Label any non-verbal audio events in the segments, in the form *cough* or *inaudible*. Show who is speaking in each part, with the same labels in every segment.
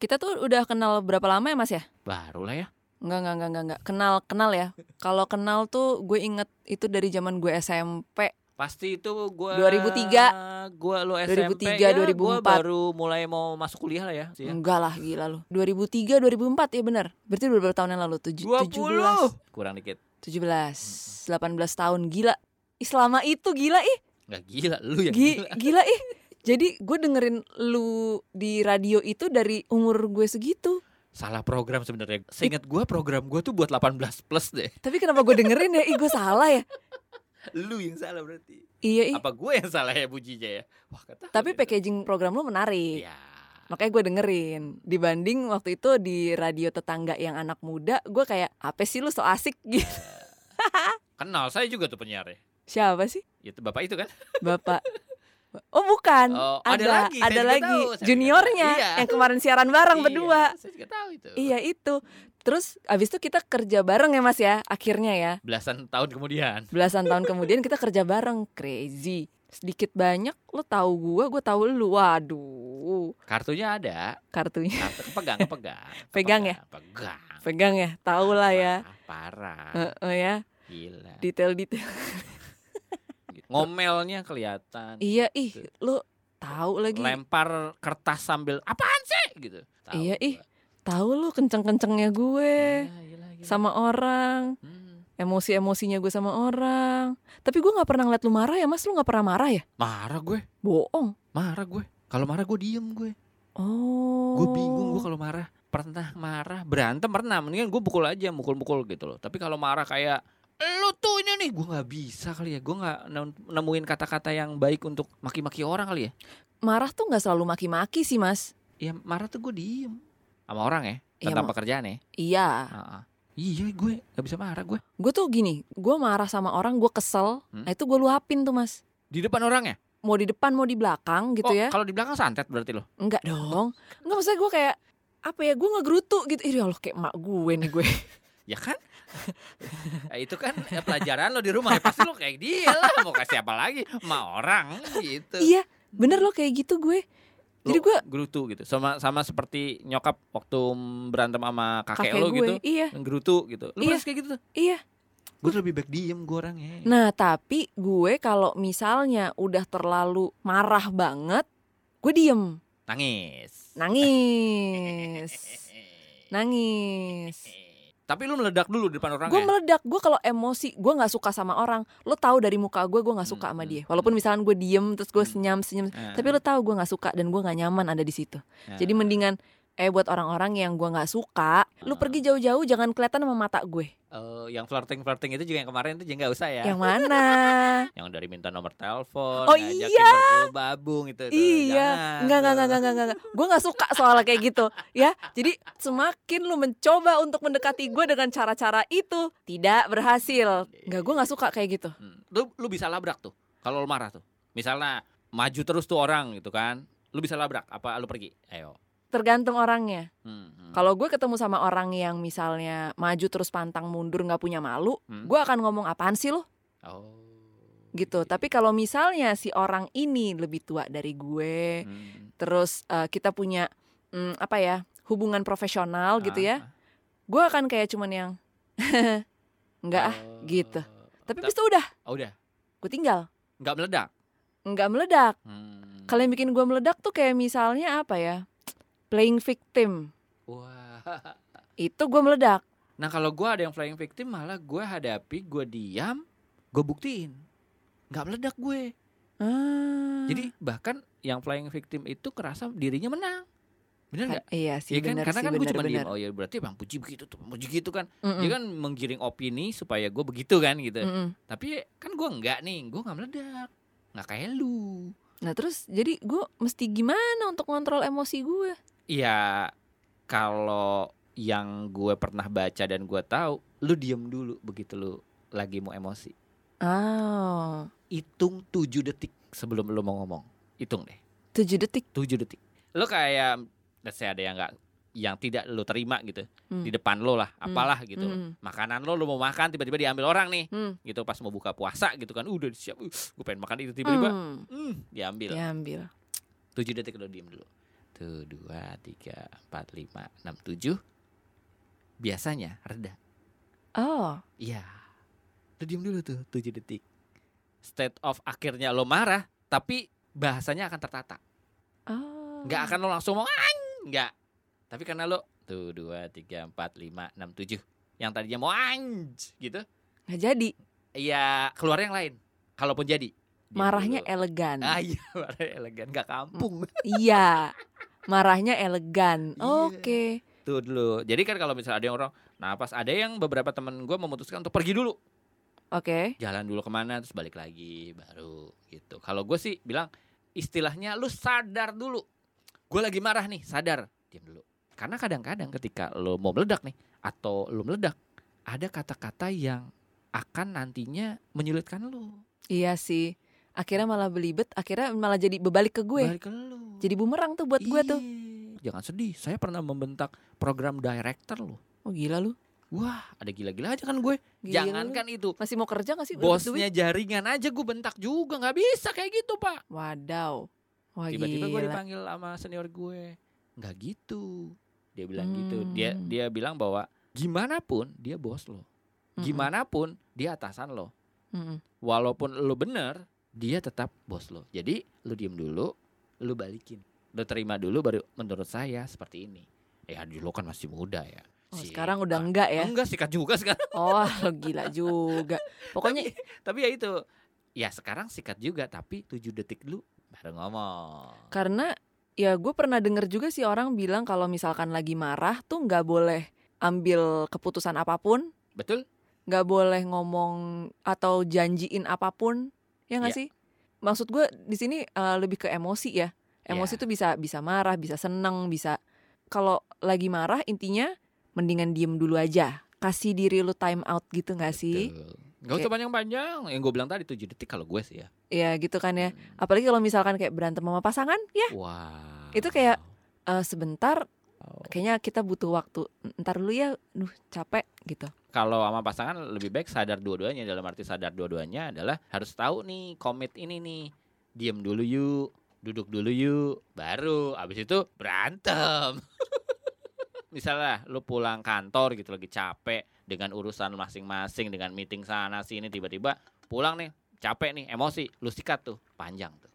Speaker 1: Kita tuh udah kenal berapa lama ya Mas ya?
Speaker 2: Baru lah ya.
Speaker 1: Enggak, enggak, enggak, enggak, enggak. Kenal, kenal ya. Kalau kenal tuh gue inget itu dari zaman gue SMP.
Speaker 2: Pasti itu gua
Speaker 1: 2003.
Speaker 2: Gua lu SMP
Speaker 1: 2003,
Speaker 2: ya,
Speaker 1: 2004.
Speaker 2: gua baru mulai mau masuk kuliah lah ya. sih ya.
Speaker 1: Enggak lah, gila lu. 2003, 2004 ya bener. Berarti udah berapa tahun yang lalu? Tuj- 17.
Speaker 2: 20 kurang dikit.
Speaker 1: 17, 18 tahun. Gila. Ih, selama itu gila ih.
Speaker 2: Enggak gila lu yang
Speaker 1: Gi-
Speaker 2: Iya, gila.
Speaker 1: gila ih. Jadi gue dengerin lu di radio itu dari umur gue segitu.
Speaker 2: Salah program sebenarnya. Seingat gua program gua tuh buat 18 plus deh.
Speaker 1: Tapi kenapa gue dengerin ya? Ih gue salah ya.
Speaker 2: Lu yang salah berarti.
Speaker 1: Iya ih.
Speaker 2: Apa gua yang salah ya bujinya ya? Wah, kata.
Speaker 1: Tapi packaging program lu menarik.
Speaker 2: Ya.
Speaker 1: Makanya gue dengerin. Dibanding waktu itu di radio tetangga yang anak muda, gue kayak apa sih lu so asik *laughs* gitu.
Speaker 2: Kenal saya juga tuh penyiarnya.
Speaker 1: Siapa sih?
Speaker 2: Itu bapak itu kan?
Speaker 1: Bapak. Oh bukan.
Speaker 2: Oh, ada
Speaker 1: ada
Speaker 2: lagi, saya
Speaker 1: ada
Speaker 2: juga
Speaker 1: lagi
Speaker 2: tahu, saya juga
Speaker 1: juniornya
Speaker 2: tahu. Iya.
Speaker 1: yang kemarin siaran Kan bareng
Speaker 2: Iya,
Speaker 1: berdua.
Speaker 2: Saya juga tahu itu.
Speaker 1: Iya itu. Terus abis itu kita kerja bareng ya Mas ya, akhirnya ya.
Speaker 2: Belasan tahun kemudian.
Speaker 1: Belasan tahun kemudian kita kerja bareng, crazy. Sedikit banyak lo tahu gua, gua tahu lu. Waduh,
Speaker 2: Kartunya ada.
Speaker 1: kartunya
Speaker 2: Kartu kepegang, kepegang.
Speaker 1: *laughs* Pegang ya?
Speaker 2: Pegang.
Speaker 1: pegang ya, tahu lah ya.
Speaker 2: Parah, Parah.
Speaker 1: Heeh ya,
Speaker 2: Gila.
Speaker 1: detail-detail.
Speaker 2: Ngomelnya kelihatan.
Speaker 1: Iya,
Speaker 2: Gitu.
Speaker 1: ih, lu tahu lagi.
Speaker 2: Lempar kertas sambil apaan sih gitu. Tahu
Speaker 1: Iya,
Speaker 2: gua.
Speaker 1: ih. Tahu lu kenceng-kencengnya gue
Speaker 2: Gila, gila, gila.
Speaker 1: sama orang,
Speaker 2: Hmm.
Speaker 1: emosi-emosinya gue sama orang. Tapi gua nggak pernah ngeliat lu marah ya, Mas. Lu nggak pernah marah ya?
Speaker 2: Marah gue,
Speaker 1: Bohong.
Speaker 2: marah gue. Kalau marah gue diem gue.
Speaker 1: Oh.
Speaker 2: Gue bingung gue kalau marah. Pernah marah, berantem pernah. Mendingan gue pukul aja, mukul-mukul gitu loh. Tapi kalau marah kayak lu tuh ini nih gue nggak bisa kali ya gue nggak nem- nemuin kata-kata yang baik untuk maki-maki orang kali ya
Speaker 1: marah tuh nggak selalu maki-maki sih mas
Speaker 2: ya marah tuh gue diem sama orang ya
Speaker 1: Iya,
Speaker 2: tentang
Speaker 1: Ma.
Speaker 2: pekerjaan ya
Speaker 1: iya
Speaker 2: Heeh. iya gue nggak bisa marah gue
Speaker 1: gue tuh gini gue marah sama orang gue kesel
Speaker 2: Hmm.
Speaker 1: nah itu gue luapin tuh mas
Speaker 2: di depan orang ya
Speaker 1: mau di depan mau di belakang gitu
Speaker 2: oh,
Speaker 1: ya
Speaker 2: kalau di belakang santet berarti lo
Speaker 1: enggak dong enggak maksudnya gue kayak apa ya gue ngegerutu gitu Ih, ya Allah kayak mak gue nih gue
Speaker 2: ya *laughs* kan Ya, itu kan ya, pelajaran lo di rumah ya, pasti lo kayak dia lah mau kasih apa lagi sama orang gitu
Speaker 1: iya bener loh kayak gitu gue
Speaker 2: Lo
Speaker 1: jadi gue
Speaker 2: gerutu gitu sama sama seperti nyokap waktu berantem sama kakek,
Speaker 1: kakek
Speaker 2: lo
Speaker 1: gue
Speaker 2: gitu
Speaker 1: iya
Speaker 2: gerutu gitu lo
Speaker 1: Iya.
Speaker 2: pernah kayak gitu tuh
Speaker 1: iya
Speaker 2: gue tuh lebih baik diem gue orangnya
Speaker 1: nah tapi gue kalau misalnya udah terlalu marah banget gue diem
Speaker 2: nangis *laughs* Nah,
Speaker 1: nangis nangis
Speaker 2: tapi lu meledak dulu di depan orang
Speaker 1: gue
Speaker 2: ya?
Speaker 1: meledak gue kalau emosi gue nggak suka sama orang lo tahu dari muka gue gue nggak suka
Speaker 2: Hmm,
Speaker 1: sama
Speaker 2: hmm,
Speaker 1: dia walaupun misalkan gue diem terus gue
Speaker 2: Hmm.
Speaker 1: senyum senyum
Speaker 2: Nah,
Speaker 1: tapi lo tahu gue nggak suka dan gue nggak nyaman ada di situ
Speaker 2: nah.
Speaker 1: jadi mendingan eh buat orang-orang yang gue nggak suka lo
Speaker 2: Ah.
Speaker 1: pergi jauh-jauh jangan kelihatan sama mata gue
Speaker 2: Eh, yang flirting flirting itu juga yang kemarin itu juga nggak usah ya.
Speaker 1: yang mana
Speaker 2: Yang dari minta nomor telepon,
Speaker 1: Oh,
Speaker 2: ngajakin
Speaker 1: iya.
Speaker 2: berdua babung gitu, itu. tuh,
Speaker 1: iya
Speaker 2: jangan. gitu.
Speaker 1: nggak nggak nggak nggak nggak nggak gue nggak suka soalnya kayak gitu ya jadi semakin lo mencoba untuk mendekati gue dengan cara-cara itu tidak berhasil nggak gue nggak suka kayak gitu
Speaker 2: Hmm. Lu lu bisa labrak tuh kalau lu marah tuh. Misalnya maju terus tuh orang gitu kan. Lu bisa labrak apa lu pergi? Ayo.
Speaker 1: tergantung orangnya
Speaker 2: Hmm, hmm.
Speaker 1: Kalau gue ketemu sama orang yang misalnya maju terus pantang mundur nggak punya malu,
Speaker 2: Hmm.
Speaker 1: gue akan ngomong apaan sih lo
Speaker 2: Oh. Hmm.
Speaker 1: gitu. Tapi kalau misalnya si orang ini lebih tua dari gue,
Speaker 2: Hmm.
Speaker 1: terus eh, kita punya mm, apa ya hubungan profesional gitu
Speaker 2: Ah,
Speaker 1: ya,
Speaker 2: ah.
Speaker 1: gue akan kayak cuman yang *laughs* nggak ah.
Speaker 2: Oh.
Speaker 1: gitu. Tapi
Speaker 2: Ta-
Speaker 1: abis itu udah,
Speaker 2: oh, udah
Speaker 1: gue tinggal.
Speaker 2: nggak meledak.
Speaker 1: Nggak meledak.
Speaker 2: Hmm.
Speaker 1: Kalau yang bikin gue meledak tuh kayak misalnya apa ya, playing victim.
Speaker 2: Wah.
Speaker 1: Itu gue meledak.
Speaker 2: Nah kalau gue ada yang flying victim malah gue hadapi, gue diam, gue buktiin, nggak meledak gue.
Speaker 1: Ah.
Speaker 2: Jadi bahkan yang flying victim itu kerasa dirinya menang, bener
Speaker 1: Ka-
Speaker 2: nggak?
Speaker 1: iya
Speaker 2: Iya
Speaker 1: sih
Speaker 2: kan?
Speaker 1: benar
Speaker 2: Karena
Speaker 1: sih
Speaker 2: kan gue cuma
Speaker 1: benar-benar.
Speaker 2: diam. Oh ya berarti bang Puji begitu tuh, Bang Puji gitu kan.
Speaker 1: Mm-mm.
Speaker 2: Dia kan menggiring opini supaya gue begitu kan gitu.
Speaker 1: Mm-mm.
Speaker 2: Tapi kan gue nggak nih, gue nggak meledak, nggak kayak lu.
Speaker 1: Nah terus jadi gue mesti gimana untuk ngontrol emosi gue?
Speaker 2: Iya kalau yang gue pernah baca dan gue tahu, lu diem dulu begitu lu lagi mau emosi.
Speaker 1: Oh,
Speaker 2: hitung 7 detik sebelum lo mau ngomong. Hitung deh,
Speaker 1: tujuh detik.
Speaker 2: 7 detik. Lo kayak let's say ada yang enggak yang tidak lo terima gitu
Speaker 1: Hmm.
Speaker 2: di depan lo lah, apalah gitu.
Speaker 1: Hmm.
Speaker 2: Makanan lo lo mau makan tiba-tiba diambil orang nih,
Speaker 1: Hmm.
Speaker 2: gitu pas mau buka puasa gitu kan. Udah siap, gue pengen makan itu tiba-tiba
Speaker 1: Hmm.
Speaker 2: hmm, diambil.
Speaker 1: Diambil.
Speaker 2: 7 detik lo diem dulu. Satu, dua, tiga, empat, lima, enam, tujuh. Biasanya reda.
Speaker 1: Oh,
Speaker 2: Iya. Lu diem dulu tuh, tujuh detik. State of akhirnya lo marah, tapi bahasanya akan tertata.
Speaker 1: oh.
Speaker 2: Nggak akan lo langsung mau "Ang!" nggak. Tapi karena lo tuh dua, tiga, empat, lima, enam, tujuh. Yang tadinya mau anj gitu,
Speaker 1: Nggak jadi.
Speaker 2: ya keluar yang lain. Kalaupun jadi. Diem
Speaker 1: Marahnya
Speaker 2: dulu.
Speaker 1: elegan.
Speaker 2: Ah iya, *laughs* marahnya elegan, nggak kampung.
Speaker 1: iya. Marahnya elegan.
Speaker 2: Iya.
Speaker 1: Oke.
Speaker 2: Tuh dulu. Jadi kan kalau misalnya ada yang orang napas, ada yang beberapa temen gue memutuskan untuk pergi dulu,
Speaker 1: Oke.
Speaker 2: jalan dulu kemana, terus balik lagi, baru gitu. Kalau gue sih bilang istilahnya lu sadar dulu. Gue lagi marah nih, sadar, diam dulu. Karena kadang-kadang ketika lo mau meledak nih atau lo meledak, ada kata-kata yang akan nantinya menyulitkan lo.
Speaker 1: Iya sih. Akhirnya malah belibet, akhirnya malah jadi bebalik ke gue.
Speaker 2: Balik ke lo.
Speaker 1: Jadi bumerang tuh buat gue tuh.
Speaker 2: Iya. Jangan sedih, saya pernah membentak program director lo.
Speaker 1: Oh gila lu.
Speaker 2: Wah, ada gila-gila aja kan gue.
Speaker 1: Gila lu.
Speaker 2: Jangankan itu,
Speaker 1: masih mau kerja gak sih? Lu dapat duit?
Speaker 2: bosnya jaringan aja gue bentak juga nggak bisa kayak gitu pak
Speaker 1: Wadaw. Wah
Speaker 2: tiba-tiba gue
Speaker 1: gila.
Speaker 2: dipanggil sama senior gue Oh, nggak gitu dia bilang gitu dia
Speaker 1: Hmm.
Speaker 2: dia bilang bahwa gimana pun dia bos lo
Speaker 1: Mm-mm.
Speaker 2: gimana pun dia atasan lo
Speaker 1: Mm-mm.
Speaker 2: walaupun lo bener dia tetap bos lo jadi lo diem dulu lo balikin lo terima dulu baru menurut saya seperti ini ya dulu kan masih muda ya
Speaker 1: Oh,
Speaker 2: Sikat.
Speaker 1: sekarang udah enggak ya?
Speaker 2: enggak sikat juga sekarang
Speaker 1: Oh lu gila juga. *laughs* Pokoknya
Speaker 2: Tapi ya itu Ya sekarang sikat juga Tapi 7 detik dulu baru ngomong
Speaker 1: Karena ya gue pernah denger juga sih orang bilang kalau misalkan lagi marah tuh nggak boleh ambil keputusan apapun,
Speaker 2: Betul?
Speaker 1: nggak boleh ngomong atau janjiin apapun, ya nggak
Speaker 2: Iya.
Speaker 1: sih? Maksud gue di sini eh, lebih ke emosi ya. Emosi
Speaker 2: Iya.
Speaker 1: tuh bisa bisa marah, bisa seneng, bisa kalau lagi marah intinya mendingan diem dulu aja, kasih diri lu time out gitu nggak sih?
Speaker 2: Betul. Nggak usah panjang-panjang Yang gue bilang tadi 7 detik kalau gue sih ya
Speaker 1: Ya gitu kan ya.
Speaker 2: Hmm.
Speaker 1: Apalagi kalau misalkan kayak berantem sama pasangan, ya
Speaker 2: Wah
Speaker 1: Itu kayak- eh, sebentar
Speaker 2: Wow.
Speaker 1: kayaknya kita butuh waktu ntar dulu ya duh capek gitu
Speaker 2: Kalau sama pasangan lebih baik sadar dua-duanya Dalam arti sadar dua-duanya adalah Harus tahu nih komit ini nih Diem dulu yuk Duduk dulu yuk Baru abis itu berantem *laughs* Misalnya lu pulang kantor gitu lagi capek Dengan urusan masing-masing Dengan meeting sana sini tiba-tiba Pulang nih capek nih emosi Lu sikat tuh panjang tuh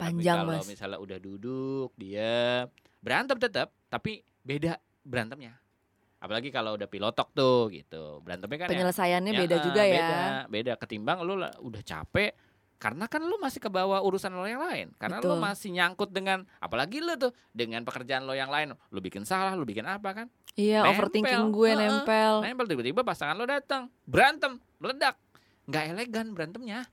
Speaker 1: panjang
Speaker 2: tapi kalau ya.
Speaker 1: mas
Speaker 2: misalnya udah duduk diam berantem tetap tapi beda berantemnya apalagi kalau udah pilotok tuh gitu berantemnya kan ya-
Speaker 1: penyelesaiannya
Speaker 2: ya,
Speaker 1: beda
Speaker 2: eh,
Speaker 1: juga ya
Speaker 2: beda beda ketimbang lu lah udah capek karena kan lu masih ke bawah urusan lo yang lain karena lu
Speaker 1: Betul.
Speaker 2: masih nyangkut dengan apalagi lu tuh dengan pekerjaan lo yang lain lu bikin salah lu bikin apa kan
Speaker 1: iya
Speaker 2: Nempel,
Speaker 1: overthinking gue
Speaker 2: heeh.
Speaker 1: nempel
Speaker 2: nempel tiba-tiba pasangan lo datang berantem meledak nggak elegan berantemnya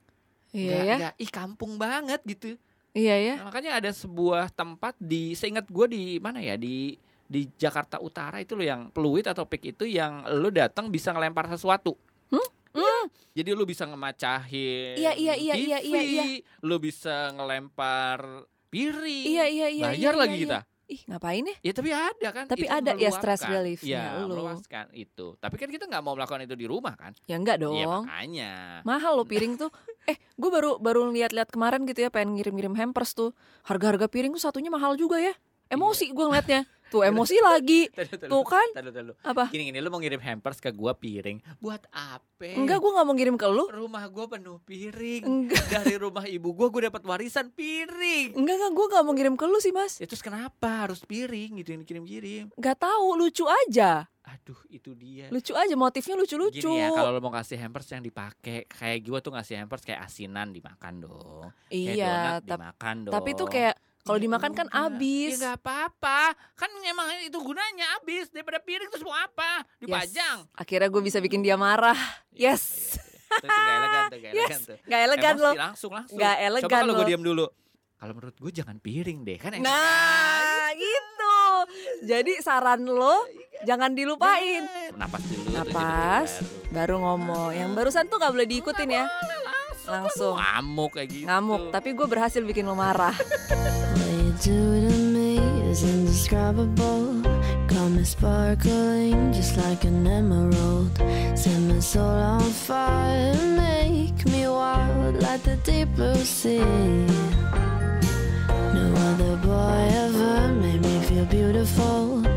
Speaker 1: iya
Speaker 2: nggak
Speaker 1: ya
Speaker 2: nggak- ih kampung banget gitu
Speaker 1: iya ya
Speaker 2: Nah, makanya ada sebuah tempat di seingat gue di mana ya di di Jakarta Utara itu loh yang peluit atau pik itu yang lo datang bisa ngelempar sesuatu.
Speaker 1: Hmm?
Speaker 2: Iya. Jadi lo bisa ngemacahin.
Speaker 1: Iya, iya, iya, iya, iya,
Speaker 2: TV,
Speaker 1: iya.
Speaker 2: Lo bisa ngelempar piring.
Speaker 1: iya iya iya iya,
Speaker 2: Bayar lagi
Speaker 1: iya,
Speaker 2: kita.
Speaker 1: iya. ih ngapain ya
Speaker 2: Ya tapi ada kan.
Speaker 1: Tapi
Speaker 2: itu
Speaker 1: ada ya stress
Speaker 2: meluapkan.
Speaker 1: relief-nya
Speaker 2: Ya
Speaker 1: lo.
Speaker 2: meluaskan itu. Tapi kan kita nggak mau melakukan itu di rumah kan.
Speaker 1: ya enggak
Speaker 2: Ya
Speaker 1: dong
Speaker 2: makanya.
Speaker 1: mahal loh piring
Speaker 2: *laughs*
Speaker 1: tuh eh gue baru baru lihat-lihat kemarin gitu ya pengen ngirim-ngirim hampers tuh harga-harga piring tuh satunya mahal juga ya emosi
Speaker 2: Iya.
Speaker 1: gue ngeliatnya tuh
Speaker 2: *laughs*
Speaker 1: emosi lagi
Speaker 2: Tadu, tadu,
Speaker 1: tuh kan
Speaker 2: tadu, tadu.
Speaker 1: Apa?
Speaker 2: Gini gini lo mau ngirim hampers ke gua piring buat apa?
Speaker 1: enggak gue nggak mau ngirim ke lu
Speaker 2: rumah gue penuh piring
Speaker 1: enggak
Speaker 2: dari rumah ibu gue gue dapat warisan piring
Speaker 1: enggak enggak gue nggak mau ngirim ke lu sih mas
Speaker 2: ya terus kenapa harus piring gitu yang dikirim kirim
Speaker 1: nggak tahu lucu aja
Speaker 2: aduh itu dia
Speaker 1: lucu aja motifnya lucu-lucu
Speaker 2: Gini ya kalau lo mau ngasih hampers yang dipakai kayak gue tuh ngasih hampers kayak asinan dimakan dong kayak
Speaker 1: iya
Speaker 2: donat
Speaker 1: tap-
Speaker 2: dimakan dong
Speaker 1: tapi tuh kayak kalau
Speaker 2: Ya
Speaker 1: dimakan kan
Speaker 2: udah.
Speaker 1: abis
Speaker 2: ya nggak apa-apa kan emang itu gunanya abis daripada piring terus mau apa
Speaker 1: Yes.
Speaker 2: dipajang
Speaker 1: akhirnya gue bisa bikin dia marah
Speaker 2: Ya,
Speaker 1: Yes.
Speaker 2: ya, ya. Itu- itu nggak elegan tuh, nggak
Speaker 1: *laughs*
Speaker 2: elegan
Speaker 1: Yes. nggak elegan
Speaker 2: kan tuh. Emosi
Speaker 1: loh
Speaker 2: langsung langsung
Speaker 1: nggak
Speaker 2: Coba
Speaker 1: elegan
Speaker 2: kalau
Speaker 1: loh
Speaker 2: gue diam dulu. Kalau menurut gue jangan piring deh kan. enak.
Speaker 1: nah gitu jadi saran lo jangan dilupain
Speaker 2: Napas dulu. terus
Speaker 1: Napas.
Speaker 2: gitu baru.
Speaker 1: baru ngomong yang barusan tuh nggak boleh diikutin ya
Speaker 2: Boleh langsung.
Speaker 1: langsung
Speaker 2: Ngamuk kayak gitu.
Speaker 1: ngamuk tapi gue berhasil bikin lo marah
Speaker 3: What you do to me is indescribable. Got me sparkling just like an emerald. Set my soul on fire, make me wild like the deep blue sea. No, I other boy ever made me feel beautiful.